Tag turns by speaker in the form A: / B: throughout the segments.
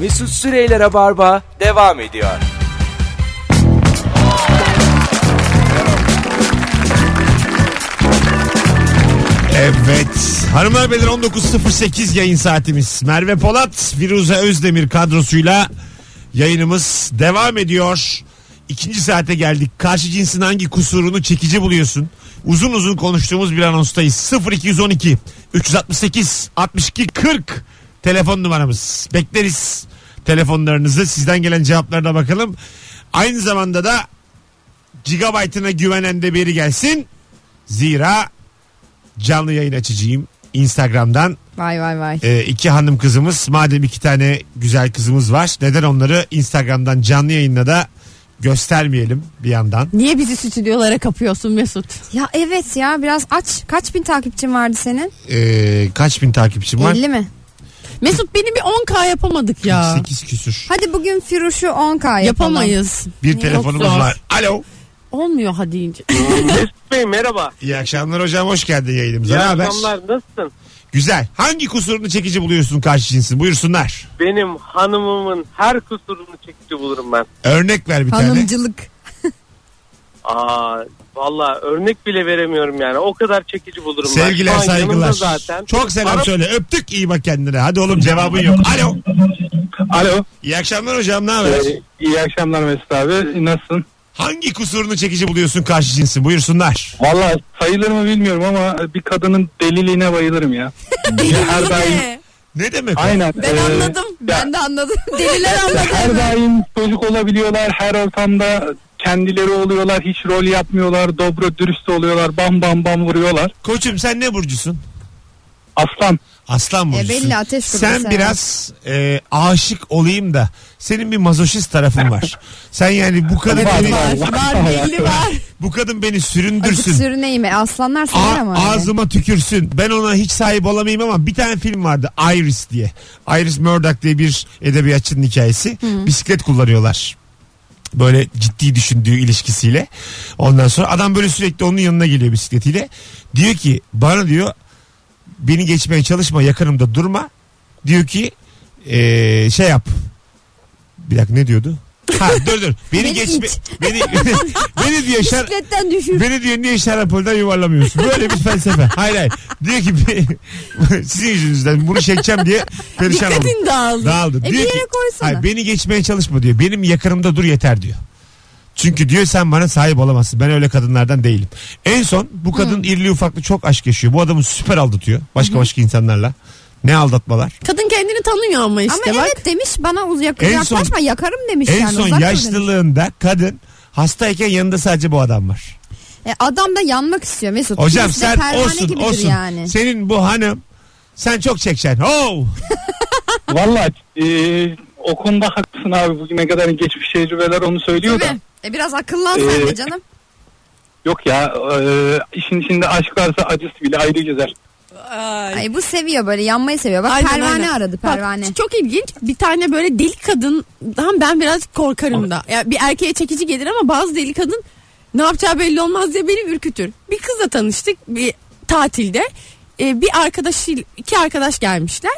A: Mesut Süreyler'e barba devam ediyor.
B: Evet. Hanımlar beyler 19.08 yayın saatimiz. Merve Polat, Firuze Özdemir kadrosuyla yayınımız devam ediyor. İkinci saate geldik. Karşı cinsin hangi kusurunu çekici buluyorsun? Uzun uzun konuştuğumuz bir anonstayız. 0212 368 62 40 telefon numaramız. Bekleriz telefonlarınızı. Sizden gelen cevaplarına bakalım. Aynı zamanda da gigabaytına güvenen de biri gelsin. Zira canlı yayın açacağım Instagram'dan.
C: Vay vay vay.
B: Ee, iki hanım kızımız madem iki tane güzel kızımız var neden onları Instagram'dan canlı yayınla da göstermeyelim bir yandan.
D: Niye bizi stüdyolara kapıyorsun Mesut?
C: Ya evet ya biraz aç. Kaç bin takipçin vardı senin?
B: Ee, kaç bin takipçim var?
C: 50 mi?
D: Mesut beni bir 10K yapamadık ya.
B: 8 küsür.
C: Hadi bugün Firuş'u 10K yapalım.
D: Yapamayız.
B: Bir
D: Çok
B: telefonumuz
D: zor.
B: var. Alo.
D: Olmuyor hadi deyince.
E: Bey merhaba.
B: İyi akşamlar hocam hoş geldin yayınımıza.
E: İyi
B: Ne haber?
E: akşamlar nasılsın?
B: Güzel. Hangi kusurunu çekici buluyorsun karşı cinsin? Buyursunlar.
E: Benim hanımımın her kusurunu çekici bulurum ben.
B: Örnek ver bir tane.
C: Hanımcılık.
E: Aa valla örnek bile veremiyorum yani. O kadar çekici bulurum ben.
B: Sevgiler
E: Şu an yanımda
B: saygılar.
E: Zaten.
B: Çok selam
E: Ara-
B: söyle. Öptük iyi bak kendine. Hadi oğlum cevabın yok. Alo.
F: Alo.
B: İyi akşamlar hocam ne haber?
F: Ee, iyi akşamlar Mesut abi. Nasılsın?
B: Hangi kusurunu çekici buluyorsun karşı cinsin? Buyursunlar.
F: Valla sayılır mı bilmiyorum ama bir kadının deliliğine bayılırım ya. her daim.
D: Yine.
B: Ne demek o?
F: Aynen.
D: ben
F: Ee,
D: anladım. Ben de anladım. Deliler anladı.
F: Her daim çocuk olabiliyorlar. Her ortamda kendileri oluyorlar. Hiç rol yapmıyorlar. Dobro dürüst oluyorlar. Bam bam bam vuruyorlar.
B: Koçum sen ne burcusun?
F: Aslan.
B: Aslan burcusun.
C: E, belli, ateş
B: Sen
C: grubu,
B: biraz e, aşık olayım da senin bir mazoşist tarafın var. sen yani bu kadın
F: Var,
B: beni,
D: Var var belli var.
B: bu kadın beni
C: Acık
B: süründürsün.
C: sürüneyim. Aslanlar
B: A-
C: sever ama. öyle.
B: ağzıma tükürsün. Ben ona hiç sahip olamayayım ama bir tane film vardı Iris diye. Iris Murdoch diye bir edebiyatçının hikayesi. Bisiklet kullanıyorlar. Böyle ciddi düşündüğü ilişkisiyle. Ondan sonra adam böyle sürekli onun yanına geliyor bisikletiyle. Diyor ki bana diyor beni geçmeye çalışma yakınımda durma. Diyor ki eee, şey yap. Bir dakika ne diyordu? Ha dur dur. Beni,
C: Beni
B: geçme
C: it.
B: beni beni diyor şar,
C: Bisikletten düşür.
B: Beni diyor niye şarampolden yuvarlamıyorsun? Böyle bir felsefe. Hayır hayır. Diyor ki "Be- sizin yüzünüzden bunu çekeceğim diye perişan oldum.
D: Dikkatin dağıldı.
B: Dağıldı.
C: E, bir
B: diyor
C: yere koysana.
B: hayır, beni geçmeye çalışma diyor. Benim yakınımda dur yeter diyor. Çünkü diyor sen bana sahip olamazsın. Ben öyle kadınlardan değilim. En son bu kadın irli ufaklı çok aşk yaşıyor. Bu adamı süper aldatıyor. Başka başka insanlarla. Ne aldatmalar.
D: Kadın kendini tanıyor ama
C: Ama
D: işte bak.
C: evet demiş bana uz yak-
B: En son-
C: yaklaşma yakarım demiş
B: en
C: yani.
B: son
C: uzak dur demiş.
B: yaşlılığında kadın hastayken yanında sadece bu adam var.
C: E, adam da yanmak istiyor Mesut.
B: Hocam
C: Birisi de
B: sen
C: pervane
B: olsun
C: gibidir
B: olsun.
C: Yani.
B: Senin bu hanım sen çok çekeceksin. Oh!
F: Valla e, o konuda haklısın abi. Bugüne kadar geçmiş tecrübeler onu söylüyor da.
C: Tabii. E, biraz akıllan sen de
F: Ee,
C: canım.
F: Yok ya e, işin içinde aşk varsa acısı bile ayrı güzel.
C: Ay, bu seviyor böyle yanmayı seviyor. Bak
D: Aynen,
C: pervane
D: aynen.
C: aradı
D: Bak,
C: pervane.
D: çok ilginç. Bir tane böyle deli kadından ben biraz korkarım da. Ya bir erkeğe çekici gelir ama bazı deli kadın ne yapacağı belli olmaz diye beni ürkütür. Bir kızla tanıştık bir tatilde. Ee, bir arkadaşı iki arkadaş gelmişler.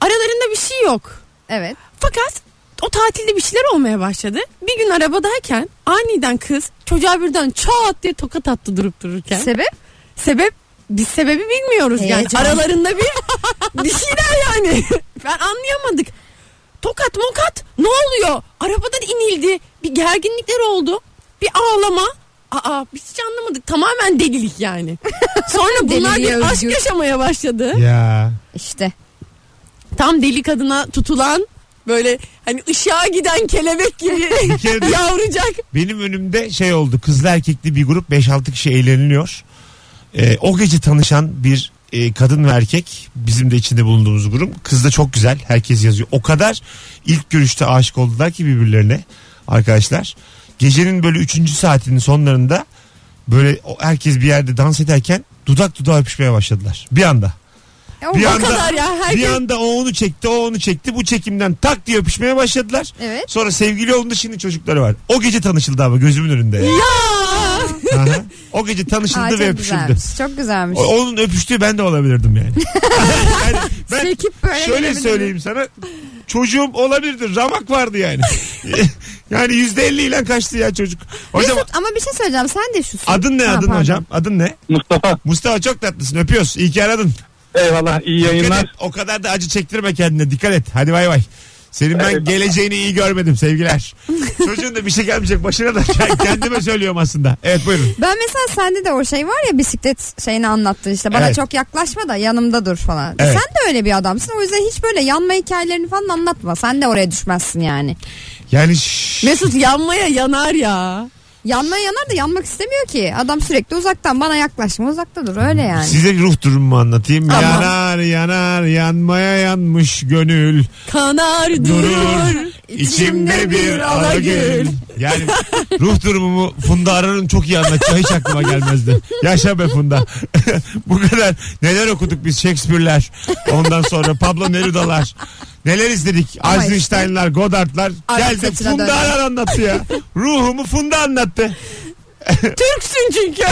D: Aralarında bir şey yok.
C: Evet.
D: Fakat o tatilde bir şeyler olmaya başladı. Bir gün arabadayken aniden kız çocuğa birden çat diye tokat attı durup dururken.
C: Sebep?
D: Sebep biz sebebi bilmiyoruz
C: Heyecan.
D: yani. Aralarında bir bir şeyler yani. Ben anlayamadık. Tokat mokat ne oluyor? Arabadan inildi. Bir gerginlikler oldu. Bir ağlama. Aa biz hiç anlamadık. Tamamen delilik yani. Sonra bunlar
C: Deliliğe
D: bir aşk
C: özgür.
D: yaşamaya başladı.
B: ya.
C: İşte.
D: Tam deli kadına tutulan böyle hani ışığa giden kelebek gibi
B: Bir kere de
D: yavrucak.
B: benim önümde şey oldu. Kızlı erkekli bir grup 5-6 kişi eğleniliyor. Ee, o gece tanışan bir e, kadın ve erkek bizim de içinde bulunduğumuz grup. Kız da çok güzel. Herkes yazıyor. O kadar ilk görüşte aşık oldular ki birbirlerine arkadaşlar. Gecenin böyle 3. saatinin sonlarında böyle o- herkes bir yerde dans ederken dudak dudağa öpüşmeye başladılar. Bir anda.
C: E, o
B: Bir
C: bak-
B: anda-
D: kadar ya, herkes-
B: Bir anda o onu çekti, o onu çekti. Bu çekimden tak diye öpüşmeye başladılar.
C: Evet.
B: Sonra sevgili oldu şimdi çocukları var. O gece tanışıldı ama gözümün önünde. Ya. Aha. O gece tanışıldı
C: Aa,
B: ve
C: çok
B: öpüşüldü.
C: güzelmiş. Çok güzelmiş.
B: O- onun öpüştüğü ben de olabilirdim yani. yani ben
C: Çekip böyle
B: şöyle
C: gidebilirim.
B: söyleyeyim sana. çocuğum olabilirdir. Ramak vardı yani. yani yüzde elli ile kaçtı ya çocuk. Hocam
C: Mesut ama bir şey söyleyeceğim sen de şusun.
B: adın ne
C: Ha,
B: adın
C: pardon.
B: hocam? Adın ne?
F: Mustafa
B: Mustafa çok tatlısın öpüyoruz. İyi ki aradın.
F: eyvallah iyi
B: Dikkat
F: yayınlar.
B: et. O kadar da acı çektirme kendine. Dikkat et. Hadi bay bay. Senin ben geleceğini iyi görmedim sevgiler. Çocuğun da bir şey gelmeyecek başına da kendime söylüyorum aslında. Evet buyurun.
C: Ben mesela sende de o şey var ya bisiklet şeyini anlattın işte. Bana
B: Evet.
C: çok yaklaşma da yanımda dur falan.
B: Evet.
C: Sen de öyle bir adamsın. O yüzden hiç böyle yanma hikayelerini falan anlatma. Sen de oraya düşmezsin yani.
B: Yani şş,
D: Mesut yanmaya yanar ya.
C: Yanmaya yanar da yanmak istemiyor ki. Adam sürekli uzaktan bana yaklaşma uzakta dur öyle yani.
B: size ruh durumumu anlatayım.
D: Aman.
B: Yanar yanar yanmaya yanmış gönül.
D: Kanar durur.
B: Durur içimde bir alagül.
D: alagül.
B: Yani ruh durumumu Funda Arar'ın çok iyi anlatacağı hiç aklıma gelmezdi. Yaşa be Funda. Bu kadar neler okuduk biz Shakespeare'ler. Ondan sonra Pablo Neruda'lar. Neler izledik?
C: Ama işte-
B: Eisenstein'lar, Godard'lar.
C: Arap
B: Geldi
C: saçına
B: Funda
C: döndü.
B: Arar anlattı ya. Ruhumu Funda anlattı.
D: Türksün çünkü.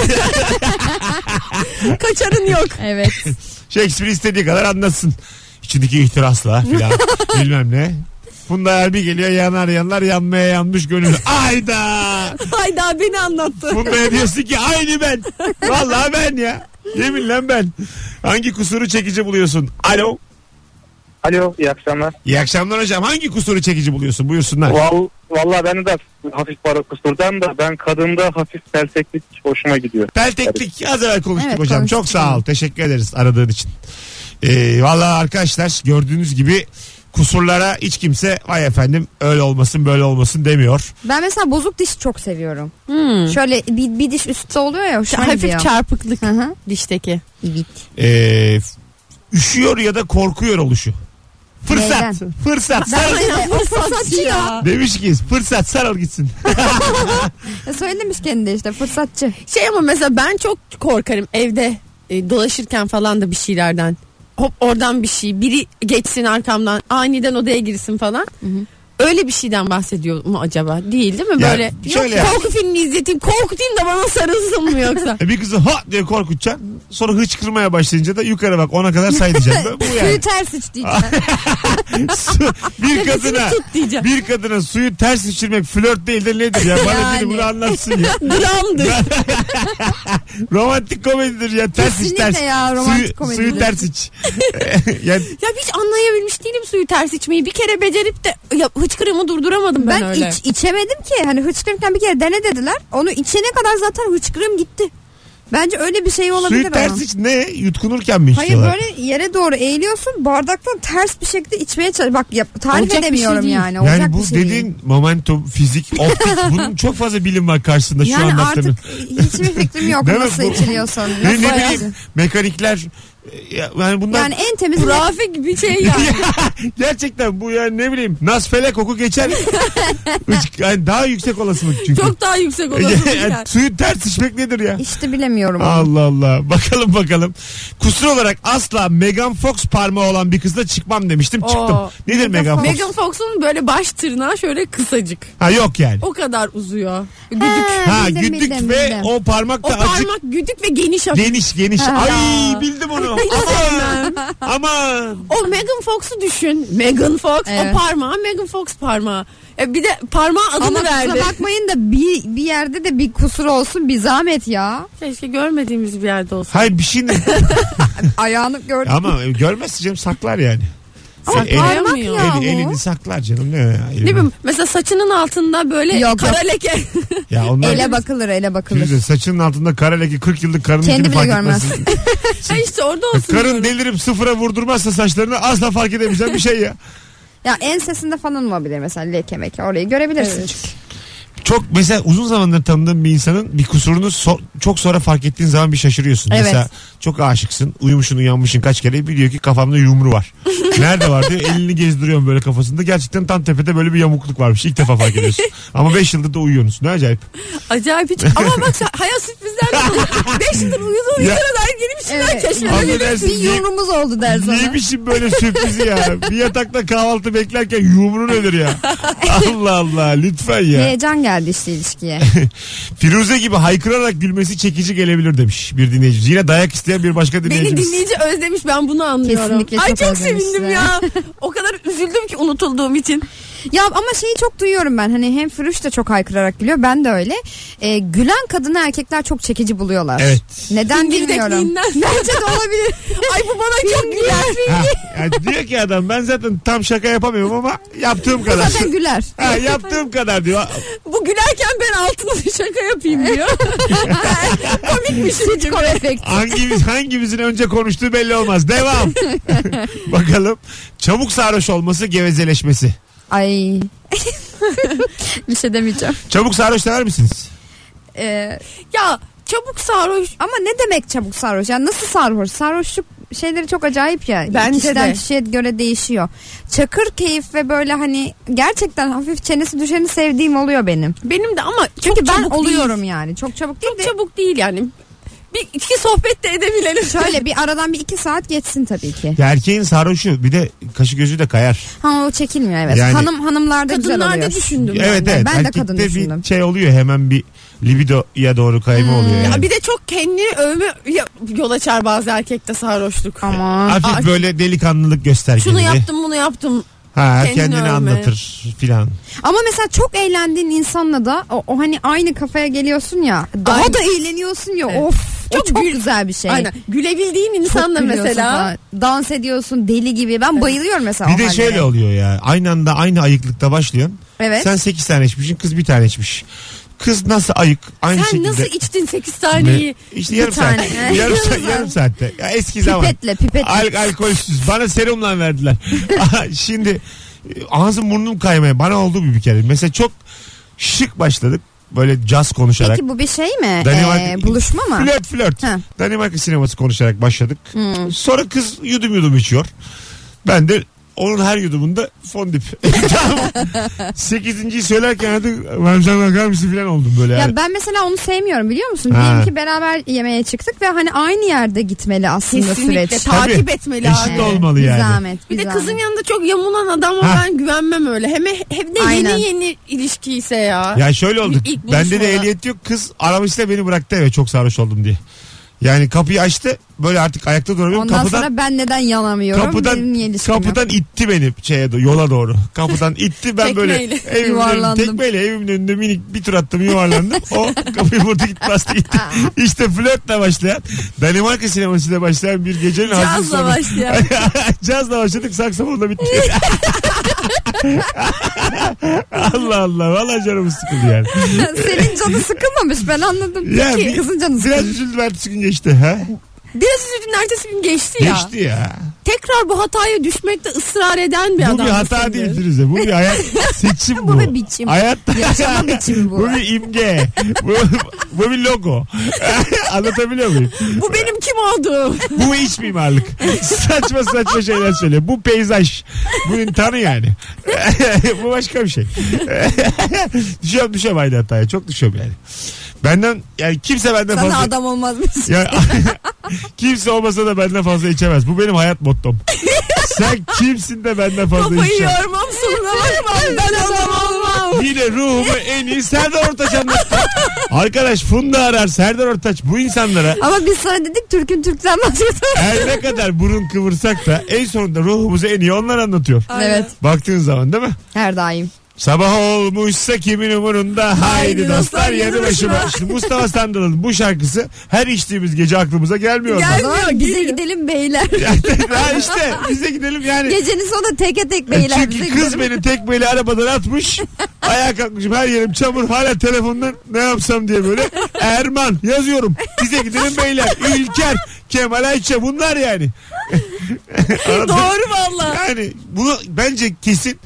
D: Kaçarın yok.
C: Evet.
B: Shakespeare istediği kadar anlatsın. İçindeki ihtirasla filan bilmem ne. Funda Arar bir geliyor yanar yanlar yanmaya yanmış gönül. Ayda!
D: Hayda beni anlattı.
B: Funda'ya diyorsun ki aynı ben. Vallahi ben ya. Yeminle ben. Hangi kusuru çekici buluyorsun? Alo.
G: Alo iyi akşamlar.
B: İyi akşamlar hocam. Hangi kusuru çekici buluyorsun? Buyursunlar.
G: Val, valla ben de hafif var o kusurdan da ben kadında hafif pelseklik hoşuma gidiyor.
B: Pelteklik az evvel konuştuk
C: Evet,
B: hocam.
C: konuştuk.
B: Çok sağ ol. Teşekkür ederiz aradığın için. Ee, Valla arkadaşlar gördüğünüz gibi kusurlara hiç kimse vay efendim öyle olmasın böyle olmasın demiyor.
C: Ben mesela bozuk diş çok seviyorum.
D: Hmm.
C: Şöyle bir, bir diş üstte oluyor ya hoşuma
D: Hafif
C: gidiyor.
D: çarpıklık
C: Hı hı.
D: dişteki.
B: Ee, üşüyor ya da korkuyor oluşu. Fırsat.
C: Neyden?
B: Fırsat. Sarıl.
D: Aynen o fırsatçı ya.
B: Demiş ki fırsat sarıl gitsin.
C: E, Söylemiş kendi işte fırsatçı.
D: Şey ama mesela ben çok korkarım evde e, dolaşırken falan da bir şeylerden. Hop oradan bir şey biri geçsin arkamdan aniden odaya girsin falan. Öyle bir şeyden bahsediyor mu acaba? Değil değil mi?
B: Ya,
D: Böyle
B: şöyle
D: yok,
B: ya.
D: korku filmi izleteyim korkutayım da bana sarılsın mı yoksa?
B: E bir kızı ha diye korkutacaksın. Sonra hıçkırmaya başlayınca da yukarı bak ona kadar say diyeceksin. Bu- Bu yani.
C: Suyu ters iç diyeceğim.
B: Su- bir
D: Nefesini
B: kadına
D: tut diyeceğim.
B: bir kadına suyu ters içirmek flört değildir nedir ya? Bana biri bunu anlatsın ya.
D: Dramdır.
B: Romantik komedidir ya. Ters iç ters.
C: Kesinlikle ya romantik
B: suyu,
C: komedi.
B: suyu ters iç. yani
D: ya hiç anlayabilmiş değilim suyu ters içmeyi. Bir kere becerip de ya, hıçkırığımı durduramadım ben,
C: Ben
D: öyle.
C: iç, içemedim ki. Hani hıçkırırken bir kere dene dediler. Onu içene kadar zaten hıçkırığım gitti. Bence öyle bir şey olabilir
B: suyu ters
C: ama.
B: iç ne? Yutkunurken mi
C: Hayır
B: içiyorlar?
C: böyle yere doğru eğiliyorsun bardaktan ters bir şekilde içmeye çalış. Bak yap, tarif
D: Olacak bir şey
C: edemiyorum
D: değil.
C: yani. Olacak
B: Yani bu
C: bir şey değil.
B: dediğin momentum, fizik, optik bunun çok fazla bilim var karşısında şu
C: Yani
B: an
C: artık hiçbir fikrim yok
B: Değil mi?
C: nasıl
B: Bu-
C: içiliyorsun.
B: Ne,
C: nasıl
B: ne
C: yani?
B: bileyim mekanikler e, ya- yani bunlar
C: Yani en temiz
D: Grafik bir şey yani.
B: Gerçekten bu yani ne bileyim nasfele koku geçer. Üç- yani daha yüksek olasılık çünkü.
D: Çok daha yüksek olasılık
B: Yani
D: yani.
B: Suyu ters içmek nedir ya?
C: işte bilemiyorum. onu.
B: Allah Allah. Bakalım bakalım. Kusur olarak asla Megan Fox parmağı olan bir kızla çıkmam demiştim.
D: Oo.
B: Çıktım. Nedir Megan Fox?
D: Megan Fox'un böyle baş tırnağı şöyle kısacık.
B: Ha yok yani.
D: O kadar uzuyor. Güdük.
C: Ee,
B: Ha
C: bildim,
B: güdük
C: bildim,
B: ve
C: bildim.
B: o parmak
D: o
B: da
D: parmak
B: azıcık
D: güdük ve geniş hafif.
B: geniş geniş. Ay bildim onu. Aman. Aman.
D: O Megan Fox'u düşün. Megan Fox.
C: Evet.
D: O parmağı Megan Fox parmağı. E bir de parmağa adını
C: Ama kusura
D: verdi.
C: bakmayın da bir, bir yerde de bir kusur olsun bir zahmet ya.
D: Keşke görmediğimiz bir yerde olsa.
B: Hayır bir şey ne?
C: Ayağını gördüm.
B: Ama görmezsin canım saklar yani.
D: Ama
B: Sen-
D: parmak
B: Eli-
D: yahu.
B: elini saklar canım ne ya?
D: Ne bileyim mesela saçının altında böyle
C: Yok,
D: kara leke.
B: Ya onlar
C: Ele bakılır ele bakılır.
B: Firuze, saçının altında kara leke 40 yıllık karının
C: Kendi
B: Kendi
C: bile
B: fark
C: görmez.
B: etmezsin.
D: Ha işte
C: E,
D: orada olsun.
B: Karın
D: diyorum.
B: delirip sıfıra vurdurmazsa saçlarını asla fark edemeyeceğim bir şey ya.
C: Ya ensesinde falan olabilir mesela leke meke orayı görebilirsin çünkü.
B: Çok mesela uzun zamandır tanıdığım bir insanın bir kusurunu so- çok sonra fark ettiğin zaman bir şaşırıyorsun.
C: Evet.
B: Mesela çok aşıksın uyumuşsun uyanmışsın kaç kere biliyor ki kafamda yumru var. Nerede var diyor elini gezdiriyorum böyle kafasında gerçekten tam tepede böyle bir yamukluk varmış ilk defa fark ediyorsun. Ama 5 yıldır da uyuyorsunuz ne acayip.
D: Acayip hiç. Ama bak sen- hayat sürprizler de dolu. Beş yıldır uyudu
B: Ya.
D: uyuduna dair yeni bir şeyler
C: Evet.
D: keşfedelim.
B: Affedersin,
C: Bir
B: niye-
C: yorumumuz oldu der sana.
B: Yemişim böyle sürprizi ya. Bir yatakta kahvaltı beklerken yumruğun ölür ya. Allah Allah lütfen ya.
C: Heyecan Ee, geldi işte ilişkiye.
B: Firuze gibi haykırarak gülmesi çekici gelebilir demiş bir dinleyicimiz. Yine dayak isteyen bir başka
D: Beni
B: dinleyicimiz.
D: dinleyici özlemiş ben bunu anlıyorum.
C: Kesinlikle
D: Ay
C: çok
D: çok
C: özlemiş
D: sevindim
C: size.
D: ya. O kadar üzüldüm ki unutulduğum için.
C: Ya ama şeyi çok duyuyorum ben. Hani hem Firuş da çok haykırarak gülüyor. Ben de öyle. Ee, gülen kadını erkekler çok çekici buluyorlar.
B: Evet.
C: Neden
D: Fingir
C: bilmiyorum.
D: tekniğinden.
C: Bence de olabilir.
D: Ay bu bana çok güler.
B: Ha, yani diyor ki adam ben zaten tam şaka yapamıyorum ama yaptığım kadar.
C: Zaten güler.
B: Ha, yaptığım kadar diyor.
D: Bu gülerken ben altına şaka yapayım diyor. Komikmişim gibi.
B: Hangimiz hangimizin önce konuştuğu belli olmaz. Devam. Bakalım. Çabuk sarhoş olması, gevezeleşmesi.
C: Ay. bir şey demeyeceğim.
B: Çabuk sarhoş der misiniz?
C: Ee,
D: Ya çabuk sarhoş.
C: ama ne demek çabuk sarhoş? Yani nasıl sarhoş? Sarhoşluk şeyleri çok acayip ya.
D: Bence
C: Kişiden
D: de.
C: kişiye göre değişiyor. Çakır keyif ve böyle hani gerçekten hafif çenesi düşeni sevdiğim oluyor benim.
D: Benim de ama
C: Çünkü
D: çok
C: ben
D: çabuk değil.
C: oluyorum yani. Çok çabuk değil
D: Çok
C: de
D: çabuk değil yani. Bir iki sohbet de edebilelim.
C: şöyle bir aradan bir iki saat geçsin tabii ki.
B: Ya erkeğin sarhoşu bir de kaşı gözü de kayar.
C: Ha o çekilmiyor evet.
B: Yani-
C: Hanım hanımlarda güzel oluyor.
D: kadınlarda düşündüm. ben.
B: evet
C: ben-
B: evet.
C: ben de
B: Erkekte
C: kadın düşündüm.
B: bir şey oluyor hemen bir libidoya doğru kayma oluyor yani.
D: Hmm. Ya bir de çok kendini övme ya- yol açar bazı erkekte sarhoşluk.
C: Ama
B: Hafif
D: Aa,
B: böyle delikanlılık göstergesi.
D: Şunu yaptım bunu yaptım.
B: Ha, kendini,
D: kendini övme.
B: anlatır filan.
C: ama mesela çok eğlendiğin insanla da o, o hani aynı kafaya geliyorsun ya. Daha
D: Aynı.
C: da eğleniyorsun ya.
D: Evet.
C: Of. Çok,
D: Çok
C: o çok
D: gül-
C: güzel bir şey.
D: Aynen. Gülebildiğin
C: Çok
D: insanla
C: gülüyorsun
D: mesela.
C: falan. dans ediyorsun deli gibi. Ben bayılıyorum mesela.
B: Bir
C: o
B: de
C: hallere.
B: şöyle oluyor ya. Aynı anda aynı ayıklıkta başlıyorsun.
C: Evet.
B: Sen 8 tane içmişsin kız bir tane içmiş. Kız nasıl ayık? Aynı
D: Sen
B: şekilde.
D: nasıl içtin 8
B: Ne?
D: taneyi?
B: İşte yarım
C: Bir
B: saat.
C: tane.
B: yarım, saat yarım saatte. Ya eski zaman.
C: Pipetle pipetle.
B: Al alkolsüz. Bana serumla verdiler. Şimdi e, ağzım burnum kaymaya. Bana oldu bu bir kere. Mesela çok şık başladık. Böyle caz konuşarak.
C: Peki bu bir şey mi?
B: Danimarka-
C: Ee, buluşma mı?
B: Flört flört.
C: Ha. Hmm.
B: Danimarka sineması konuşarak başladık. Sonra kız yudum yudum içiyor. Ben de onun her yudumunda fondip. tamam. Sekizinciyi söylerken artık Ramazan bakar mısın falan oldum böyle. yani.
C: Ya ben mesela onu sevmiyorum biliyor musun?
B: Ha.
C: Diyelim ki beraber yemeğe çıktık ve hani aynı yerde gitmeli aslında
D: Kesinlikle
C: süreç.
D: takip
B: Tabii.
D: etmeli
B: Eşit
D: abi.
B: ol- olmalı
C: bir
B: yani.
C: Zahmet,
D: Bir de
C: zahmet.
D: kızın yanında çok yamulan adama
B: Ha.
D: ben güvenmem öyle. Hem, hem de
C: Aynen.
D: yeni yeni ilişki ise ya.
B: Ya şöyle oldu.
D: İlk buluşmada-
B: Bende de ehliyet yok. Kız aramışla beni bıraktı eve çok sarhoş oldum diye. Yani kapıyı açtı. Böyle artık ayakta duramıyorum.
C: Ondan
B: kapıdan
C: sonra ben neden yanamıyorum? Benim niye
B: kapıdan
C: ilişkim yok?
B: kapıdan itti beni şeye do- yola doğru. Kapıdan itti ben böyle
D: Tekmeyle.
B: evimin
C: Yuvarlandım.
B: Önünde, tekmeyle evimin önünde minik bir tur attım yuvarlandım. o kapıyı vurdu gitti bastı gitti. işte flörtle başlayan Danimarka sinemasıyla başlayan bir gecenin hazır
D: Cazla
B: sonu.
D: başlayan.
B: Cazla başladık saksafonla bitti. Allah Allah valla canımız sıkıldı yani.
C: Senin canı sıkılmamış ben anladım.
B: Ya
C: Peki
B: bir-
C: kızın canı
B: Biraz
C: sıkılmış.
B: üzüldüm ertesi gün geçti ha.
D: Biraz üzüldüm ertesi gün geçti ya.
B: Geçti ya.
D: Tekrar bu hataya düşmekte ısrar eden bir
B: Bu
D: adam.
B: bir hata
D: mısındır?
B: değil Firuze. Bu bir hayat seçim bu.
C: Bu bir biçim.
B: Hayat.
C: Yaşama biçimi bu.
B: bu bir imge. bu, bu bir logo. Anlatabiliyor muyum?
D: Bu benim kim olduğum.
B: Bu iç mimarlık. saçma saçma şeyler söyle. Bu peyzaj. Bunun tanı yani. bu başka bir şey. düşüyorum düşüyorum aynı hataya. Çok düşüyorum yani. Benden yani kimse benden
C: Sana
B: fazla
C: adam olmazmış.
B: ya, kimse olmasa da benden fazla içemez. Bu benim hayat mottom. Sen kimsin de benden fazla
D: Kafayı
B: içemez.
D: yormam sonuna bakmam. Ben adam olmam.
B: Yine ruhumu en iyi Serdar Ortaç anlattı. Arkadaş Funda Arar, Serdar Ortaç bu insanlara
C: Ama biz sana dedik Türk'ün Türk'ten başkası.
B: her ne kadar burun kıvırsak da en sonunda ruhumuzu en iyi onlar anlatıyor.
C: evet
B: Baktığın zaman değil mi?
C: her daim.
B: Sabah olmuşsa kimin umurunda haydi
D: Haydi
B: dostlar
D: dostlar,
B: yanı
D: yanı
B: başıma.
D: başıma.
B: Şimdi Mustafa Sandal'ın bu şarkısı her içtiğimiz gece aklımıza gelmiyor.
C: O
D: Gel-
B: Gel.
C: zaman
D: Gelmiyor,
C: bize
D: geliyor.
C: gidelim beyler.
B: ha işte bize gidelim yani.
C: Gecenin sonunda teke tek beyler bize
B: E, Çünkü kız
C: gidelim.
B: beni tek böyle arabadan atmış. Ayağa kalkmışım her yerim çamur hala telefondan ne yapsam diye böyle. Erman yazıyorum. Bize gidelim beyler. Ülker, Kemal Ayça bunlar yani. Anladın?
D: Doğru valla.
B: Yani bunu bence kesin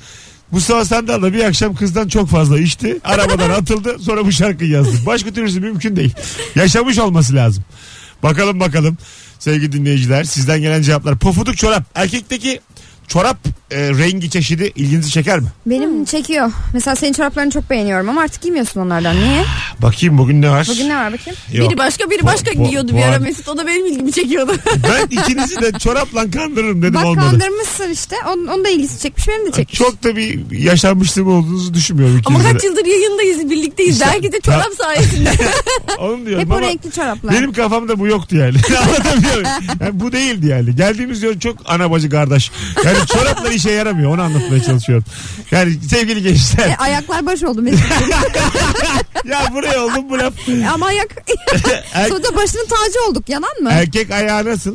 B: Mustafa Sandal da bir akşam kızdan çok fazla içti. Arabadan atıldı sonra bu şarkıyı yazdı. Başka türlüsü mümkün değil. Yaşamış olması lazım. Bakalım bakalım sevgili dinleyiciler sizden gelen cevaplar. Pofuduk çorap. Erkekteki çorap e, rengi çeşidi ilginizi çeker mi?
C: Benim çekiyor. Mesela senin çoraplarını çok beğeniyorum ama artık giymiyorsun onlardan. Niye?
B: Bakayım bugün ne var?
C: Bugün ne var bakayım?
B: Yok.
D: Biri başka biri
B: Bu-
D: başka
B: bu-
D: giyiyordu
B: bu
D: bir ara
B: arada-
D: Mesut. O da benim ilgimi çekiyordu.
B: Ben ikinizi de çorapla kandırırım dedim
C: Bak
B: olmadı.
C: kandırmışsın işte. Onun, onun da ilgisi çekmiş benim de çekmiş.
B: Çok da bir yaşanmışlığım olduğunuzu düşünmüyorum
D: Ama
B: ikinizin de.
D: kaç yıldır yayındayız birlikteyiz.
B: İşte-
D: Belki de çorap sayesinde.
B: Onu diyorum
C: Hep o
B: ama
C: renkli çoraplar.
B: benim kafamda bu yoktu yani. Anlatabiliyor muyum? Yani bu değildi yani. Geldiğimiz yol çok ana bacı kardeş. Yani çoraplar işe yaramıyor. Onu anlatmaya çalışıyorum. Yani sevgili
C: E,
B: gençler.
C: ayaklar baş oldu Mesut.
B: ya buraya oldum bu laf.
C: ama ayak.
B: Er-
C: Sonra da başının tacı olduk. Yalan mı?
B: erkek ayağı nasıl?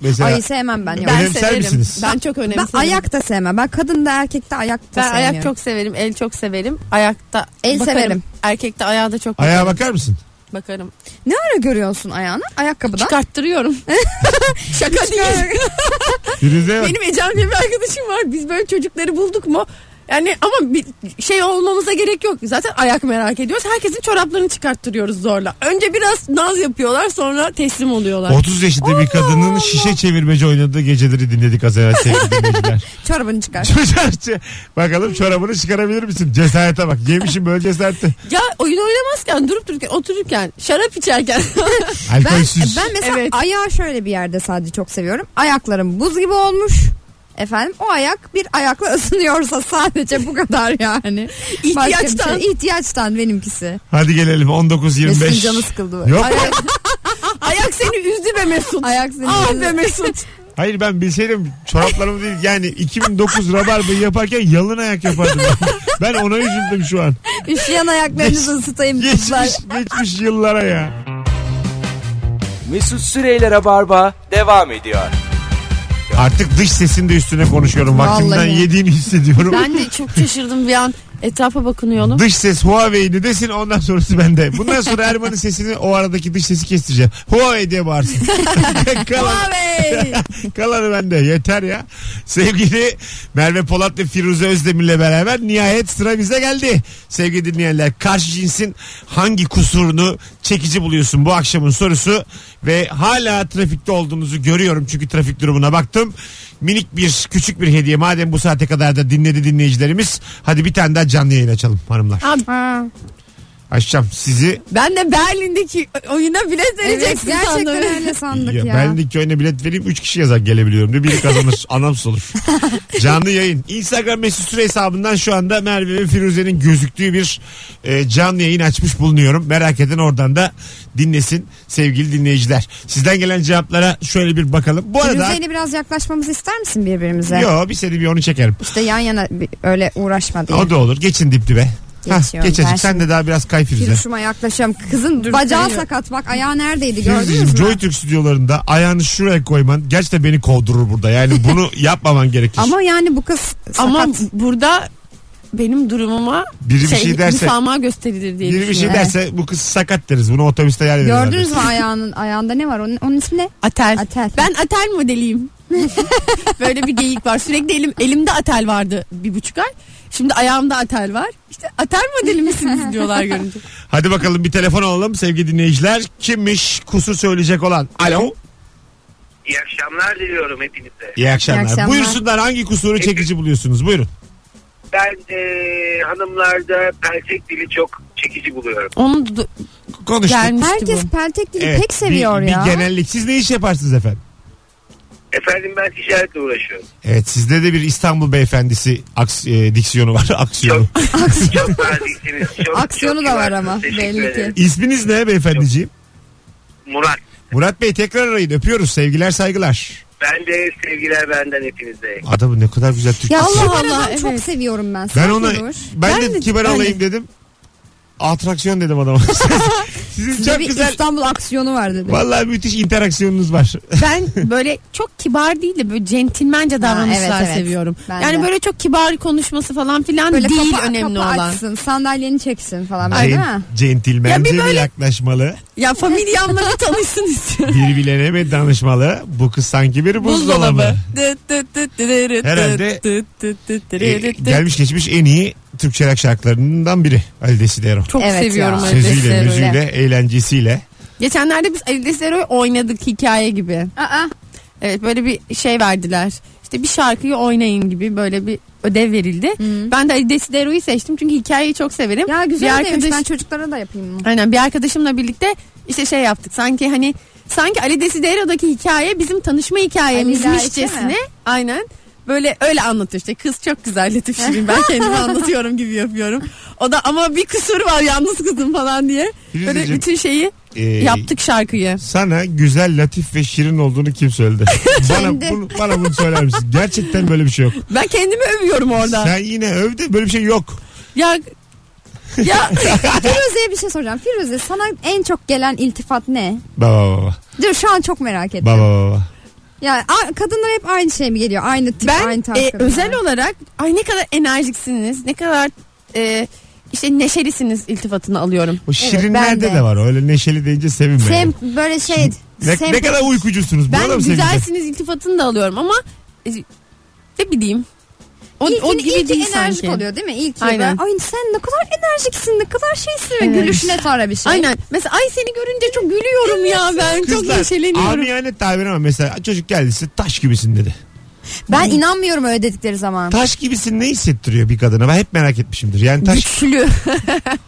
B: Mesela
C: Ay sevmem ben. yok.
B: Ben Önemser misiniz?
D: Ben çok önemserim.
C: Ben ayak da sevmem. Ben kadın da erkek de ayak da
D: Ben
C: sevmiyorum.
D: ayak çok severim, el çok severim. Ayakta
C: El
D: bakarım.
C: severim.
D: Erkekte ayağa da çok
B: Ayağa
D: bakarım.
B: bakar mısın?
D: bakarım.
C: Ne ara görüyorsun ayağını? Ayakkabıdan.
D: Çıkarttırıyorum. Şaka değil.
B: Birinize bak.
D: Benim Ecem diye bir arkadaşım var. Biz böyle çocukları bulduk mu? Yani ama bir şey olmamıza gerek yok. Zaten ayak merak ediyoruz. Herkesin çoraplarını çıkarttırıyoruz zorla. Önce biraz naz yapıyorlar sonra teslim oluyorlar.
B: 30 yaşında bir kadının şişe çevirmece oynadığı geceleri dinledik az evvel sevgili dinleyiciler.
C: Çorabını çıkar.
B: Çocuğa- Bakalım çorabını çıkarabilir misin? Cesarete bak. Yemişim böyle cesareti.
D: Ya oyun oynamazken durup dururken otururken şarap içerken
C: Ben,
B: Alkolsüz.
C: ben mesela
D: Evet.
C: ayağı şöyle bir yerde sadece çok seviyorum. Ayaklarım buz gibi olmuş. Efendim o ayak bir ayakla ısınıyorsa sadece bu kadar yani. Başka bir
D: İhtiyaçtan.
C: Şey, ihtiyaçtan benimkisi.
B: Hadi gelelim 19-25.
C: Mesut'un canı sıkıldı.
B: Yok.
C: Ayak,
D: ayak seni üzdü be Mesut.
C: ayak seni.
D: Ah be Mesut.
B: Hayır ben bilseydim çoraplarımı değil yani 2009 rabarbayı yaparken yalın ayak yapardım. ben ona üzüldüm şu an.
C: Üşüyen ayaklarınızı ısıtayım kızlar.
B: Geçmiş, geçmiş yıllara ya.
A: Mesut Süreyler'e barba devam ediyor.
B: Artık dış sesin de üstüne konuşuyorum. Vaktimden
C: Vallahi.
B: yediğini hissediyorum.
D: Ben de çok şaşırdım bir an. Etrafa bakınıyorum.
B: Dış ses Huawei'ni desin ondan sonrası bende. Bundan sonra Erman'ın sesini o aradaki dış sesi kestireceğim. Huawei diye bağırsın. Kalan-
D: Huawei.
B: Kalanı bende yeter ya. Sevgili Merve Polat ve Firuze Özdemir'le beraber nihayet sıra bize geldi. Sevgili dinleyenler karşı cinsin hangi kusurunu çekici buluyorsun bu akşamın sorusu. Ve hala trafikte olduğunuzu görüyorum çünkü trafik durumuna baktım. Minik bir küçük bir hediye madem bu saate kadar da dinledi dinleyicilerimiz. Hadi bir tane daha canlı yayın açalım hanımlar.
C: Ha,
B: Açacağım sizi.
D: Ben de Berlin'deki oyuna bilet
C: evet,
D: vereceksin
C: gerçekten
D: sandım.
C: öyle sandık ya.
B: Ya, ben de köyüne bilet vereyim 3 kişi yazar gelebiliyorum diye biri kazanır anlamsız olur. canlı yayın. Instagram mesut süre hesabından şu anda Merve ve Firuze'nin gözüktüğü bir e, canlı yayın açmış bulunuyorum. Merak eden oradan da dinlesin sevgili dinleyiciler. Sizden gelen cevaplara şöyle bir bakalım. Bu arada
C: Firuze'yle biraz yaklaşmamızı ister misin birbirimize?
B: Yo bir seni bir onu çekerim.
C: İşte yan yana bir- öyle uğraşma diye.
B: O da olur. Geçin dip dibe. Hah,
C: Geçiyorum ben
B: geçecek. Sen de daha biraz kay Firuze.
C: Firuşuma yaklaşıyorum. Kızın bacağı sakat bak ayağı neredeydi gördünüz
B: Firuzeciğim,
C: mü?
B: Joy Türk stüdyolarında ayağını şuraya koyman gerçekten beni kovdurur burada. Yani bunu yapmaman gerekir.
C: Ama yani bu kız sakat.
D: Ama burada benim durumuma
B: Biri bir şey derse-
D: müsamaha gösterilir diye
B: Biri bir şey
D: düşünüyorum.
B: derse bu kız sakat deriz. Bunu otobüste yer veririz.
C: Gördünüz mü ayağının ayağında ne var? Onun, onun ismi ne?
D: Atel.
C: Atel.
D: Ben atel modeliyim. Böyle bir geyik var. Sürekli elim, elimde atel vardı bir buçuk ay. Şimdi ayağımda atel var. İşte atel modeli misiniz diyorlar görünce.
B: Hadi bakalım bir telefon alalım sevgili dinleyiciler. Kimmiş kusur söyleyecek olan? Alo.
H: İyi akşamlar diliyorum hepinize.
B: İyi akşamlar.
C: İyi akşamlar.
B: Buyursunlar hangi kusuru çekici buluyorsunuz? Buyurun.
H: Ben eee, hanımlarda peltek dili çok çekici buluyorum.
D: Onu du-
B: Konuştuk.
D: gelmişti
C: Herkes
D: bu.
C: peltek dili
B: Evet,
C: pek seviyor
B: bir,
C: ya.
B: Bir genellik. Siz ne iş yaparsınız efendim?
H: Efendim ben ticaretle uğraşıyorum.
B: Evet sizde de bir İstanbul beyefendisi aks, e, diksiyonu var. Aksiyonu.
H: Çok naziksiniz. Çok,
C: Aksiyonu
H: çok
C: da var
H: kibarsınız.
C: ama
H: Teşekkür
C: belli ki.
H: ederim.
B: İsminiz ne beyefendiciğim?
H: Murat
B: Murat Bey tekrar arayın. Öpüyoruz. Sevgiler saygılar.
H: ben de sevgiler benden hepinize.
B: Adamı ne kadar güzel Türkçe.
C: Ya
D: Allah
C: Allah
D: Allah,
C: Allah çok
D: evet.
C: seviyorum ben.
B: Ben
C: Sen
B: ona
C: Firuş.
B: ben,
D: Ben
B: de
D: de-
B: kibar
D: ben de.
B: olayım dedim. Atraksiyon dedim adama. Sizin
C: Size
B: çok
C: bir
B: güzel.
C: İstanbul aksiyonu var dedi.
B: Vallahi müthiş interaksiyonunuz var.
D: Ben böyle çok kibar değil de böyle centilmence davranışlar
C: evet, evet.
D: seviyorum.
C: Ben
D: yani
C: de.
D: böyle çok kibar konuşması falan filan
C: Böyle
D: değil
C: kapağı-
D: önemli
C: kapağı
D: olan.
C: açsın, sandalyeni çeksin falan böyle değil
B: Cent,
C: mi?
B: centilmence
D: Ya bir
B: bir
D: böyle-
B: yaklaşmalı.
D: Ya familyamla bir tanışsın istiyorum.
B: Birbirlerine mi danışmalı? Bu kız sanki bir buzdolabı. Herhalde, Ee, gelmiş geçmiş en iyi Türkçe rock şarkılarından biri. Ali Desidero.
D: Çok
C: Evet
D: seviyorum
C: ya.
D: Ali
B: Sözüyle,
D: Destero'yu.
B: müziğiyle, eğlencesiyle.
D: Geçenlerde biz Ali Destero'yu oynadık hikaye gibi.
C: Aa,
D: Evet böyle bir şey verdiler. işte bir şarkıyı oynayın gibi böyle bir ödev verildi.
C: Hı.
D: Ben de Desidero'yu seçtim çünkü hikayeyi çok severim.
C: Ya
D: Bir
C: güzel ödevmiş.
D: arkadaş-
C: Ben çocuklara da yapayım bunu.
D: Aynen bir arkadaşımla birlikte işte şey yaptık. Sanki hani sanki Ali Desidero'daki hikaye bizim tanışma
C: Ali ile
D: hikayemizmişçesine. Aynen. Böyle öyle anlatıyor işte. Kız çok güzel Latif Şirin. Ben kendimi anlatıyorum gibi yapıyorum. O da ama bir kusur var yalnız kızım falan diye. Böyle
B: Firuzeciğim,
D: bütün şeyi
B: Ee,
D: yaptık şarkıyı.
B: Sana güzel, latif ve şirin olduğunu kim söyledi? bana,
C: Kendi.
B: bunu, bana bunu söyler misin? Gerçekten böyle bir şey yok.
D: Ben kendimi övüyorum orada.
B: Sen yine övdü böyle bir şey yok.
D: Ya ya
C: Firuze'ye bir şey soracağım. Firuze sana en çok gelen iltifat ne?
B: Baba baba
C: Dur şu an çok merak ettim.
B: baba baba.
C: Yani a- kadınlara hep aynı şey mi geliyor? Aynı tip,
D: ben
C: aynı tarz.
D: e,
C: kadınlar.
D: özel olarak ay ne kadar enerjiksiniz. Ne kadar e, işte neşelisiniz iltifatını alıyorum.
B: O şirinlerde
C: ben
B: de.
C: de.
B: var öyle neşeli deyince sevinme.
C: Sem böyle şey.
B: ne,
C: sem-
B: ne kadar uykucusunuz.
D: Ben
B: Buna da mı sevinecek?
D: güzelsiniz iltifatını da alıyorum ama e, ne bileyim. O,
C: İlkin-
D: o gibi
C: ilki
D: değil
C: enerjik
D: sanki.
C: oluyor değil mi? İlki
D: Aynen.
C: Aynen. Ay sen ne kadar enerjiksin, ne kadar şeysin.
D: Evet.
C: Gülüşüne tara bir şey.
D: Aynen. Mesela ay seni görünce çok gülüyorum ya ben. çok
B: Kızlar
D: neşeleniyorum.
B: amiyane tabir ama mesela çocuk geldi size taş gibisin dedi.
C: Ben inanmıyorum öyle dedikleri zaman.
B: Taş gibisin ne hissettiriyor bir kadına? Ben hep merak etmişimdir. Yani taş
D: Güçlü.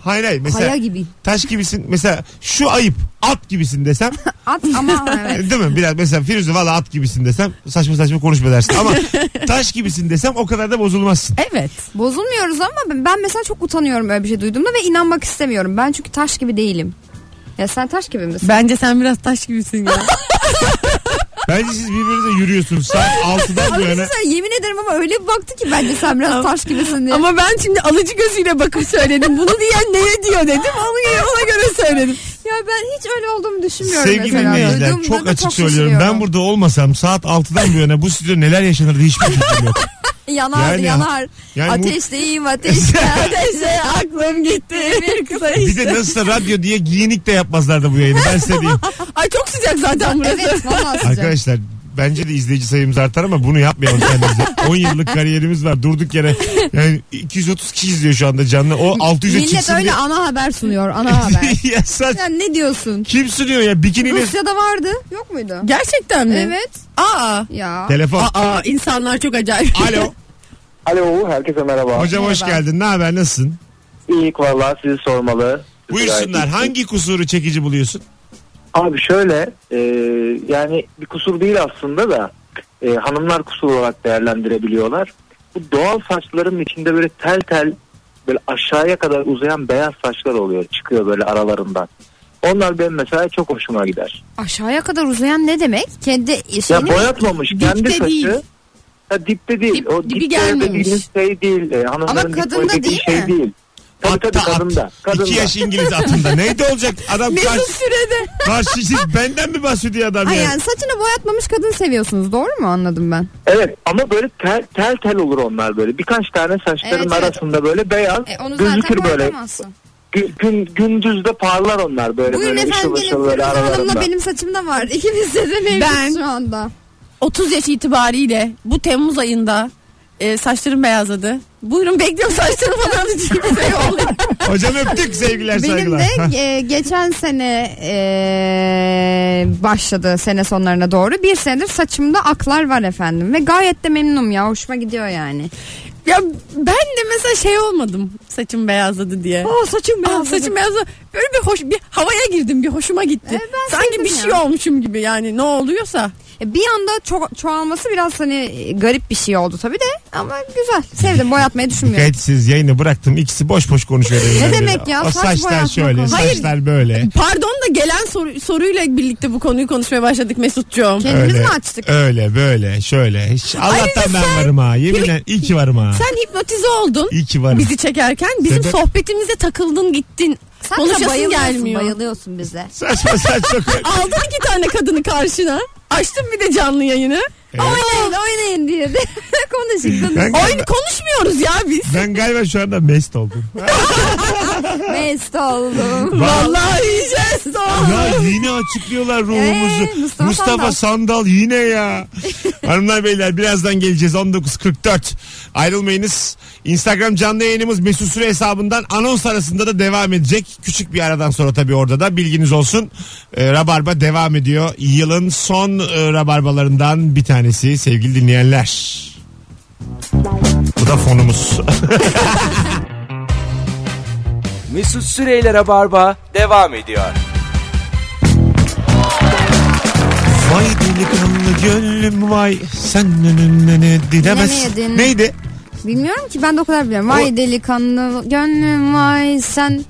B: hayır hayır mesela
C: Kaya gibi.
B: taş gibisin mesela şu ayıp at gibisin desem
C: At ama evet.
B: değil mi? Biraz mesela Firuze valla at gibisin desem saçma saçma konuşma dersin ama taş gibisin desem o kadar da bozulmazsın.
D: evet.
C: Bozulmuyoruz ama ben- ben mesela çok utanıyorum öyle bir şey duyduğumda ve inanmak istemiyorum. Ben çünkü taş gibi değilim. Ya sen taş gibi misin?
D: Bence sen biraz taş gibisin ya.
B: Bence siz birbirinize yürüyorsunuz saat 6'dan bu
C: Abi
B: yana.
C: sen yemin ederim ama öyle bir baktı ki bence sen biraz taş gibisin diye.
D: ama ben şimdi alıcı gözüyle bakıp söyledim. Bunu diyen neye diyor dedim. Onu ona göre söyledim.
C: ya ben hiç öyle olduğumu düşünmüyorum
B: Sevgili
C: mesela.
B: dinleyiciler
C: Duyduğumda
B: çok
C: da
B: açık söylüyorum.
C: şaşırıyorum.
B: Ben burada olmasam saat 6'dan bu yana bu stüdyo neler yaşanırdı hiçbir fikrim yok.
C: Yanar
B: Yani-
C: yanar.
B: yani bu-
C: ateşteyim ateşte.
D: Neyse aklım gitti. Bir kısa
B: Bir de nasılsa radyo diye giyinik de yapmazlardı bu yayını ben size diyeyim.
D: Ay çok sıcak zaten burası.
C: evet valla sıcak.
B: Arkadaşlar bence de izleyici sayımız artar ama bunu yapmayalım kendimize. 10 yıllık kariyerimiz var durduk yere. Yani 230 kişi izliyor şu anda canlı. O 600'e
C: Millet
B: çıksın
C: öyle
B: diye.
C: ana haber sunuyor ana haber.
B: ya saç.
C: Sen ne diyorsun?
B: Kim sunuyor ya bikiniyle?
C: Rusya'da vardı yok muydu?
D: Gerçekten mi?
C: Evet.
D: Aa.
C: Ya.
B: Telefon.
D: Aa insanlar çok acayip.
B: Alo.
G: Alo herkese merhaba.
B: Hocam hoş
C: Merhaba.
B: geldin. Ne haber? Nasılsın?
G: İyi valla sizi sormalı. Siz
B: Buyursunlar.
G: gayet iyisiniz.
B: Hangi kusuru çekici buluyorsun?
G: Abi şöyle e, yani bir kusur değil aslında da e, hanımlar kusur olarak değerlendirebiliyorlar. Bu doğal saçların içinde böyle tel tel böyle aşağıya kadar uzayan beyaz saçlar oluyor çıkıyor böyle aralarından. Onlar benim mesela çok hoşuma gider.
C: Aşağıya kadar uzayan ne demek? Kendi e,
G: Ya
C: şeyini mi?
G: boyatmamış
D: Dipte
G: kendi saçı.
D: değil.
G: Ha, dipte değil.
D: Dip-
G: o
D: dibi
G: dipte
D: gelmemiş.
G: dediğiniz şey değil. E, hanımların dip
C: kadında
G: boyadaki
C: değil
G: şey
C: mi?
G: değil. Tabii
B: Atta
G: tabii kadında.
B: at.
G: kadında.
B: İki yaş İngiliz atında. Neydi olacak? Adam karşı,
D: Mesut Sürede.
B: karşı siz benden mi bahsediyor adam
C: Hayır
B: ya?
C: yani saçını boyatmamış kadın seviyorsunuz doğru mu anladım ben?
G: Evet ama böyle tel tel tel olur onlar böyle. Birkaç tane saçların
C: Evet, E, evet.
G: arasında böyle beyaz gözükür böyle. Gü- gün, gündüzde parlar onlar böyle
C: Buyurun
G: böyle
C: efendim
G: ışıl
C: gelin
G: ışıl
C: Firuze
G: böyle
C: Hanım'la
G: aralarında.
C: benim saçımda var. İkimizde de mevcut
D: Ben-
C: şu anda.
D: 30 yaş itibariyle bu Temmuz ayında e, saçlarım beyazladı. Buyurun bekliyorum saçlarım falan diye bir şey oldu.
B: Hocam öptük sevgiler
C: Benim
B: saygılar.
C: de e, geçen sene e, başladı sene sonlarına doğru. Bir senedir saçımda aklar var efendim. Ve gayet de memnunum ya. Hoşuma gidiyor yani.
D: Ya ben de mesela şey olmadım saçım beyazladı diye.
C: Aa saçım
D: Aa, saçım beyazladı. Böyle bir hoş bir havaya girdim bir hoşuma gitti.
C: E, ben
D: Sanki
C: sevdim
D: bir
C: ya.
D: şey olmuşum gibi yani ne oluyorsa.
C: E, Bir anda ço- çoğalması biraz hani e, garip bir şey oldu tabii de. Ama güzel. Sevdim. Boyatmayı düşünmüyorum.
B: Kayıtsız yayını bıraktım. İkisi boş boş konuşuyor. birbirine.
C: demek ya?
B: O
C: Saç
B: saçlar
C: boyatmak
B: şöyle,
C: olmaz.
D: Hayır.
B: saçlar böyle.
D: Pardon da gelen soru, soruyla birlikte bu konuyu konuşmaya başladık Mesutcuğum.
C: Kendimiz mi açtık?
B: Öyle böyle şöyle. Hiç Allah'tan
D: Ayrıca
B: ben
D: sen-
B: varım ha. Yeminle iyi ki varım ha.
D: Sen hipnotize oldun.
B: İyi ki varım.
D: bizi çekerken bizim
B: Sebep?
D: sohbetimize takıldın gittin.
C: Sen de
D: Konuşasın
C: bayılıyorsun,
D: gelmiyor.
C: Bayılıyorsun bize.
B: Saçma saçma.
D: Aldın iki tane kadını karşına. Açtın bir de canlı yayını.
B: Evet.
C: Oynayın oynayın diye de konuştuk.
B: Ben,
D: Oyunu konuşmuyoruz ya biz.
B: ben galiba şu anda mest oldum.
C: Mest oldum.
D: Vallahi yiyeceğiz.
B: ya yine açıklıyorlar ruhumuzu.
C: Ee,
B: Mustafa, Sandal.
C: Mustafa Sandal.
B: yine ya. Hanımlar beyler birazdan geleceğiz 19.44. Ayrılmayınız. Instagram canlı yayınımız Mesut Süre hesabından anons arasında da devam edecek. Küçük bir aradan sonra tabii orada da bilginiz olsun. Ee, Rabarba devam ediyor. Yılın son e, rabarbalarından bir tanesi. tanesi sevgili dinleyenler. Bu da fonumuz.
A: Mesut Süreyler'e barba devam ediyor.
B: Vay delikanlı gönlüm vay sen önüne ne dilemez.
C: Bilemedin.
B: Neydi?
C: Bilmiyorum ki ben de o kadar biliyorum. Vay delikanlı gönlüm vay sen.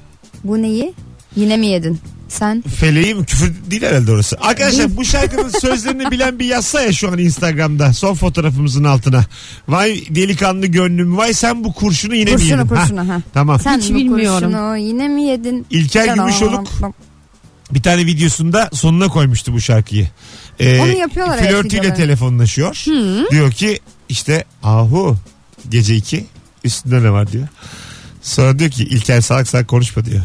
C: Bu neyi? Yine mi yedin? Sen
B: Feleği mi? Küfür değil herhalde orası. Arkadaşlar bu şarkının sözlerini bilen bir yazsa ya şu an Instagram'da son fotoğrafımızın altına. Vay delikanlı gönlüm vay sen bu kurşunu yine mi
C: kurşunu
B: yedin? Ha,
C: kurşunu ha.
B: Tamam.
C: Sen
D: Hiç
C: bu
D: bilmiyorum.
C: kurşunu yine mi yedin?
B: İlker
C: Sen-
B: Gümüşoluk bir tane videosunda sonuna koymuştu bu şarkıyı. Ee,
C: Onu yapıyorlar evet
B: Flörtüyle
C: videoları.
B: telefonlaşıyor. Diyor ki işte ahu gece iki üstünde ne var diyor. Sonra diyor ki İlker salak salak konuşma diyor.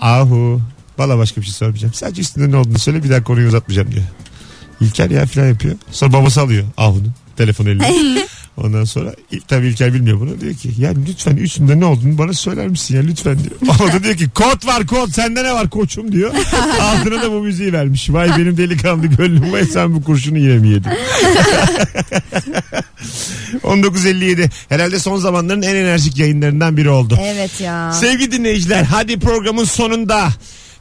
B: ahu valla başka bir şey söylemeyeceğim. Sadece üstünde ne olduğunu söyle bir daha konuyu uzatmayacağım diyor. İlker ya filan yapıyor. Sonra babası alıyor Ahu'nun telefon eline. Ondan sonra ilk tabii İlker bilmiyor bunu. Diyor ki ya lütfen üstünde ne olduğunu bana söyler misin ya lütfen diyor. O da diyor ki kod var kod sende ne var koçum diyor. Altına da bu müziği vermiş. Vay benim delikanlı gönlüm vay sen bu kurşunu yine mi yedin? 1957 herhalde son zamanların en enerjik yayınlarından biri oldu.
C: Evet ya.
B: Sevgili dinleyiciler hadi programın sonunda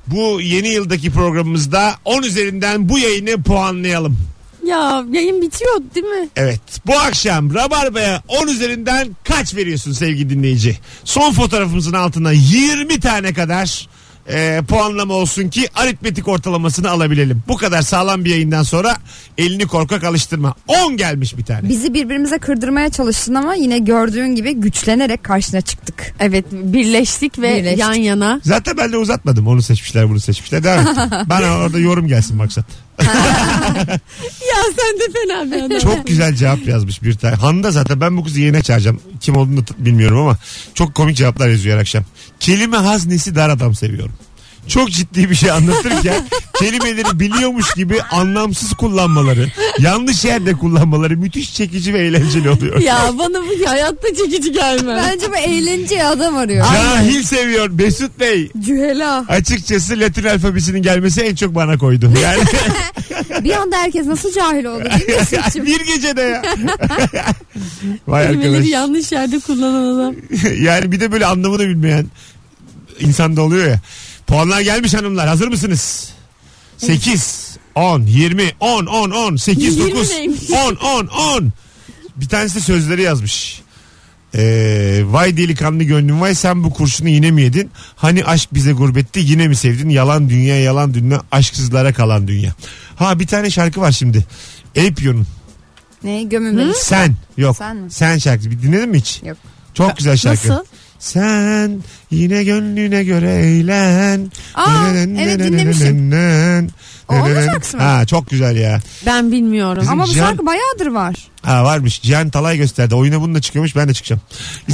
B: bu yeni yıldaki programımızda 10 üzerinden bu yayını puanlayalım.
D: Ya yayın bitiyor değil mi?
B: Evet bu akşam Rabarba'ya 10 üzerinden kaç veriyorsun sevgili dinleyici? Son fotoğrafımızın altına 20 tane kadar e, puanlama olsun ki aritmetik ortalamasını alabilelim. Bu kadar sağlam bir yayından sonra elini korkak alıştırma. 10 gelmiş bir tane.
C: Bizi birbirimize kırdırmaya çalıştın ama yine gördüğün gibi güçlenerek karşına çıktık.
D: Evet birleştik ve
C: Birleştik.
D: yan yana.
B: Zaten ben de uzatmadım. Onu seçmişler bunu seçmişler. Devam et. Bana orada yorum gelsin maksat.
D: Ya sen de fena bir adam.
B: Çok güzel cevap yazmış bir tane. Handa zaten ben bu kızı yeğene çağıracağım. Kim olduğunu da t- bilmiyorum ama çok komik cevaplar yazıyor her akşam. Kelime haznesi dar adam seviyorum. Çok ciddi bir şey anlatırken kelimeleri biliyormuş gibi anlamsız kullanmaları, yanlış yerde kullanmaları müthiş çekici ve eğlenceli oluyor.
D: Ya bana bu hayatta çekici gelmez.
C: Bence bu eğlenceli adam arıyor.
B: Cahil seviyor Mesut Bey.
C: Cühela.
B: Açıkçası Latin alfabesinin gelmesi en çok bana koydu. Yani
C: Bir anda herkes nasıl cahil oldu değil mi?
B: bir gecede ya. Vay arkadaş.
D: Kelimeleri yanlış yerde kullanan adam.
B: yani bir de böyle anlamını bilmeyen insan da oluyor ya. Puanlar gelmiş hanımlar. Hazır mısınız? 8, 10, 20, 10, 10, 10, 8,
D: 20
B: 9,
D: neymiş?
B: 10, 10, 10. Bir tanesi de sözleri yazmış. Ee, vay delikanlı gönlüm vay sen bu kurşunu yine mi yedin? Hani aşk bize gurbetti yine mi sevdin? Yalan dünya yalan dünya aşksızlara kalan dünya. Ha bir tane şarkı var şimdi. Apion'un.
C: ne gömün beni.
B: Sen yok.
C: Sen mi?
B: Sen şarkısı. Bir dinledin mi hiç?
C: Yok.
B: Çok güzel şarkı.
D: Nasıl?
B: Sen yine gönlüne göre eğlen.
C: Aa, evet, dinlemişim. O onun şarkısı mı?
B: Ha, çok güzel ya.
D: Ben bilmiyorum.
B: Bizim
C: Ama bu
B: Cihan-
C: şarkı bayağıdır var.
B: Ha varmış. Cihan Talay gösterdi. Oyuna bununla çıkıyormuş. Ben de çıkacağım.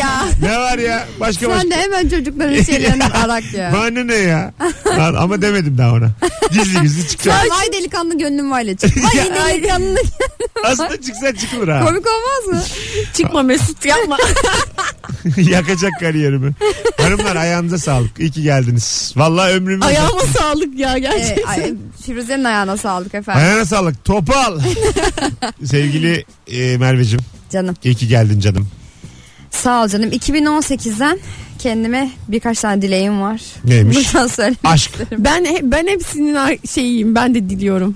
C: ya
B: ne var ya? Başka başka.
C: sen de hemen çocukların şeylerinden arak ya.
B: Bana ne ya? Lan ama demedim daha ona. Gizli gizli çıkacağım.
C: Vay delikanlı gönlüm vayla çık. Vay yine delikanlı.
B: Aslında çıksa çıkılır ha.
C: Komik olmaz mı?
D: Çıkma Mesut yapma.
B: Yakacak kariyerimi. Hanımlar ayağınıza sağlık. İyi ki geldiniz. Vallahi ömrümü
D: Ayağıma sağlık ya
C: Ee,
D: gerçekten.
C: ay, Firuze'nin ayağına sağlık efendim.
B: Ayağına sağlık. Topal. Sevgili e, Merveciğim.
C: Canım.
B: iyi ki geldin canım.
C: Sağ ol canım. 2018'den kendime birkaç tane dileğim var.
B: Neymiş?
C: Buradan söyle.
B: Aşk.
D: Ben he- ben hepsinin ar- şeyiyim. Ben de diliyorum.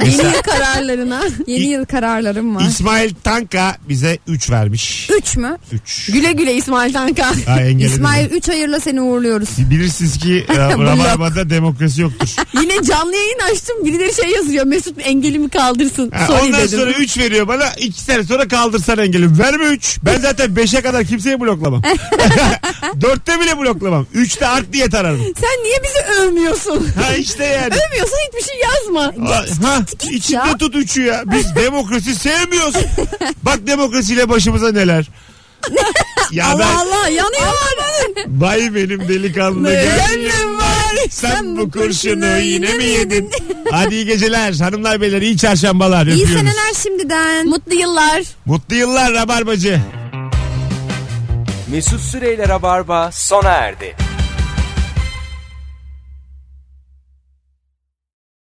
B: Mesela
D: Yeni kararlarına.
C: Yeni
B: İ-
C: yıl kararlarım var.
B: İsmail Tanka bize 3 vermiş.
C: 3 mü?
B: 3.
D: Güle güle İsmail Tanka.
B: Ha, engelledim.
C: İsmail 3 hayırla seni uğurluyoruz.
B: Bilirsiniz ki e, Rabarba'da demokrasi yoktur.
D: Yine canlı yayın açtım. Birileri şey yazıyor. Mesut engelimi kaldırsın.
B: Ha,
D: Sorry
B: ondan
D: dedim.
B: sonra 3 veriyor bana. 2 sene sonra kaldırsan engelim. Verme 3. Ben zaten 5'e kadar kimseyi bloklamam. 4'te bile bloklamam. 3'te art diye tararım.
D: Sen niye bizi övmüyorsun?
B: Ha işte yani.
D: Övmüyorsan hiçbir şey yazma.
B: ha, içinde
C: ya.
B: tut üçü ya. Biz demokrasi sevmiyoruz. Bak demokrasiyle başımıza neler. ya ben
D: Allah Allah yanıyorlar.
B: bay benim delikanlı gönlüm var. Sen, bu kurşunu yine mi yedin? Hadi iyi geceler hanımlar beyler iyi çarşambalar
C: İyi
B: öpüyoruz.
C: seneler şimdiden.
D: Mutlu yıllar.
B: Mutlu yıllar Rabarbacı.
A: Mesut Süreyler'e barba sona erdi.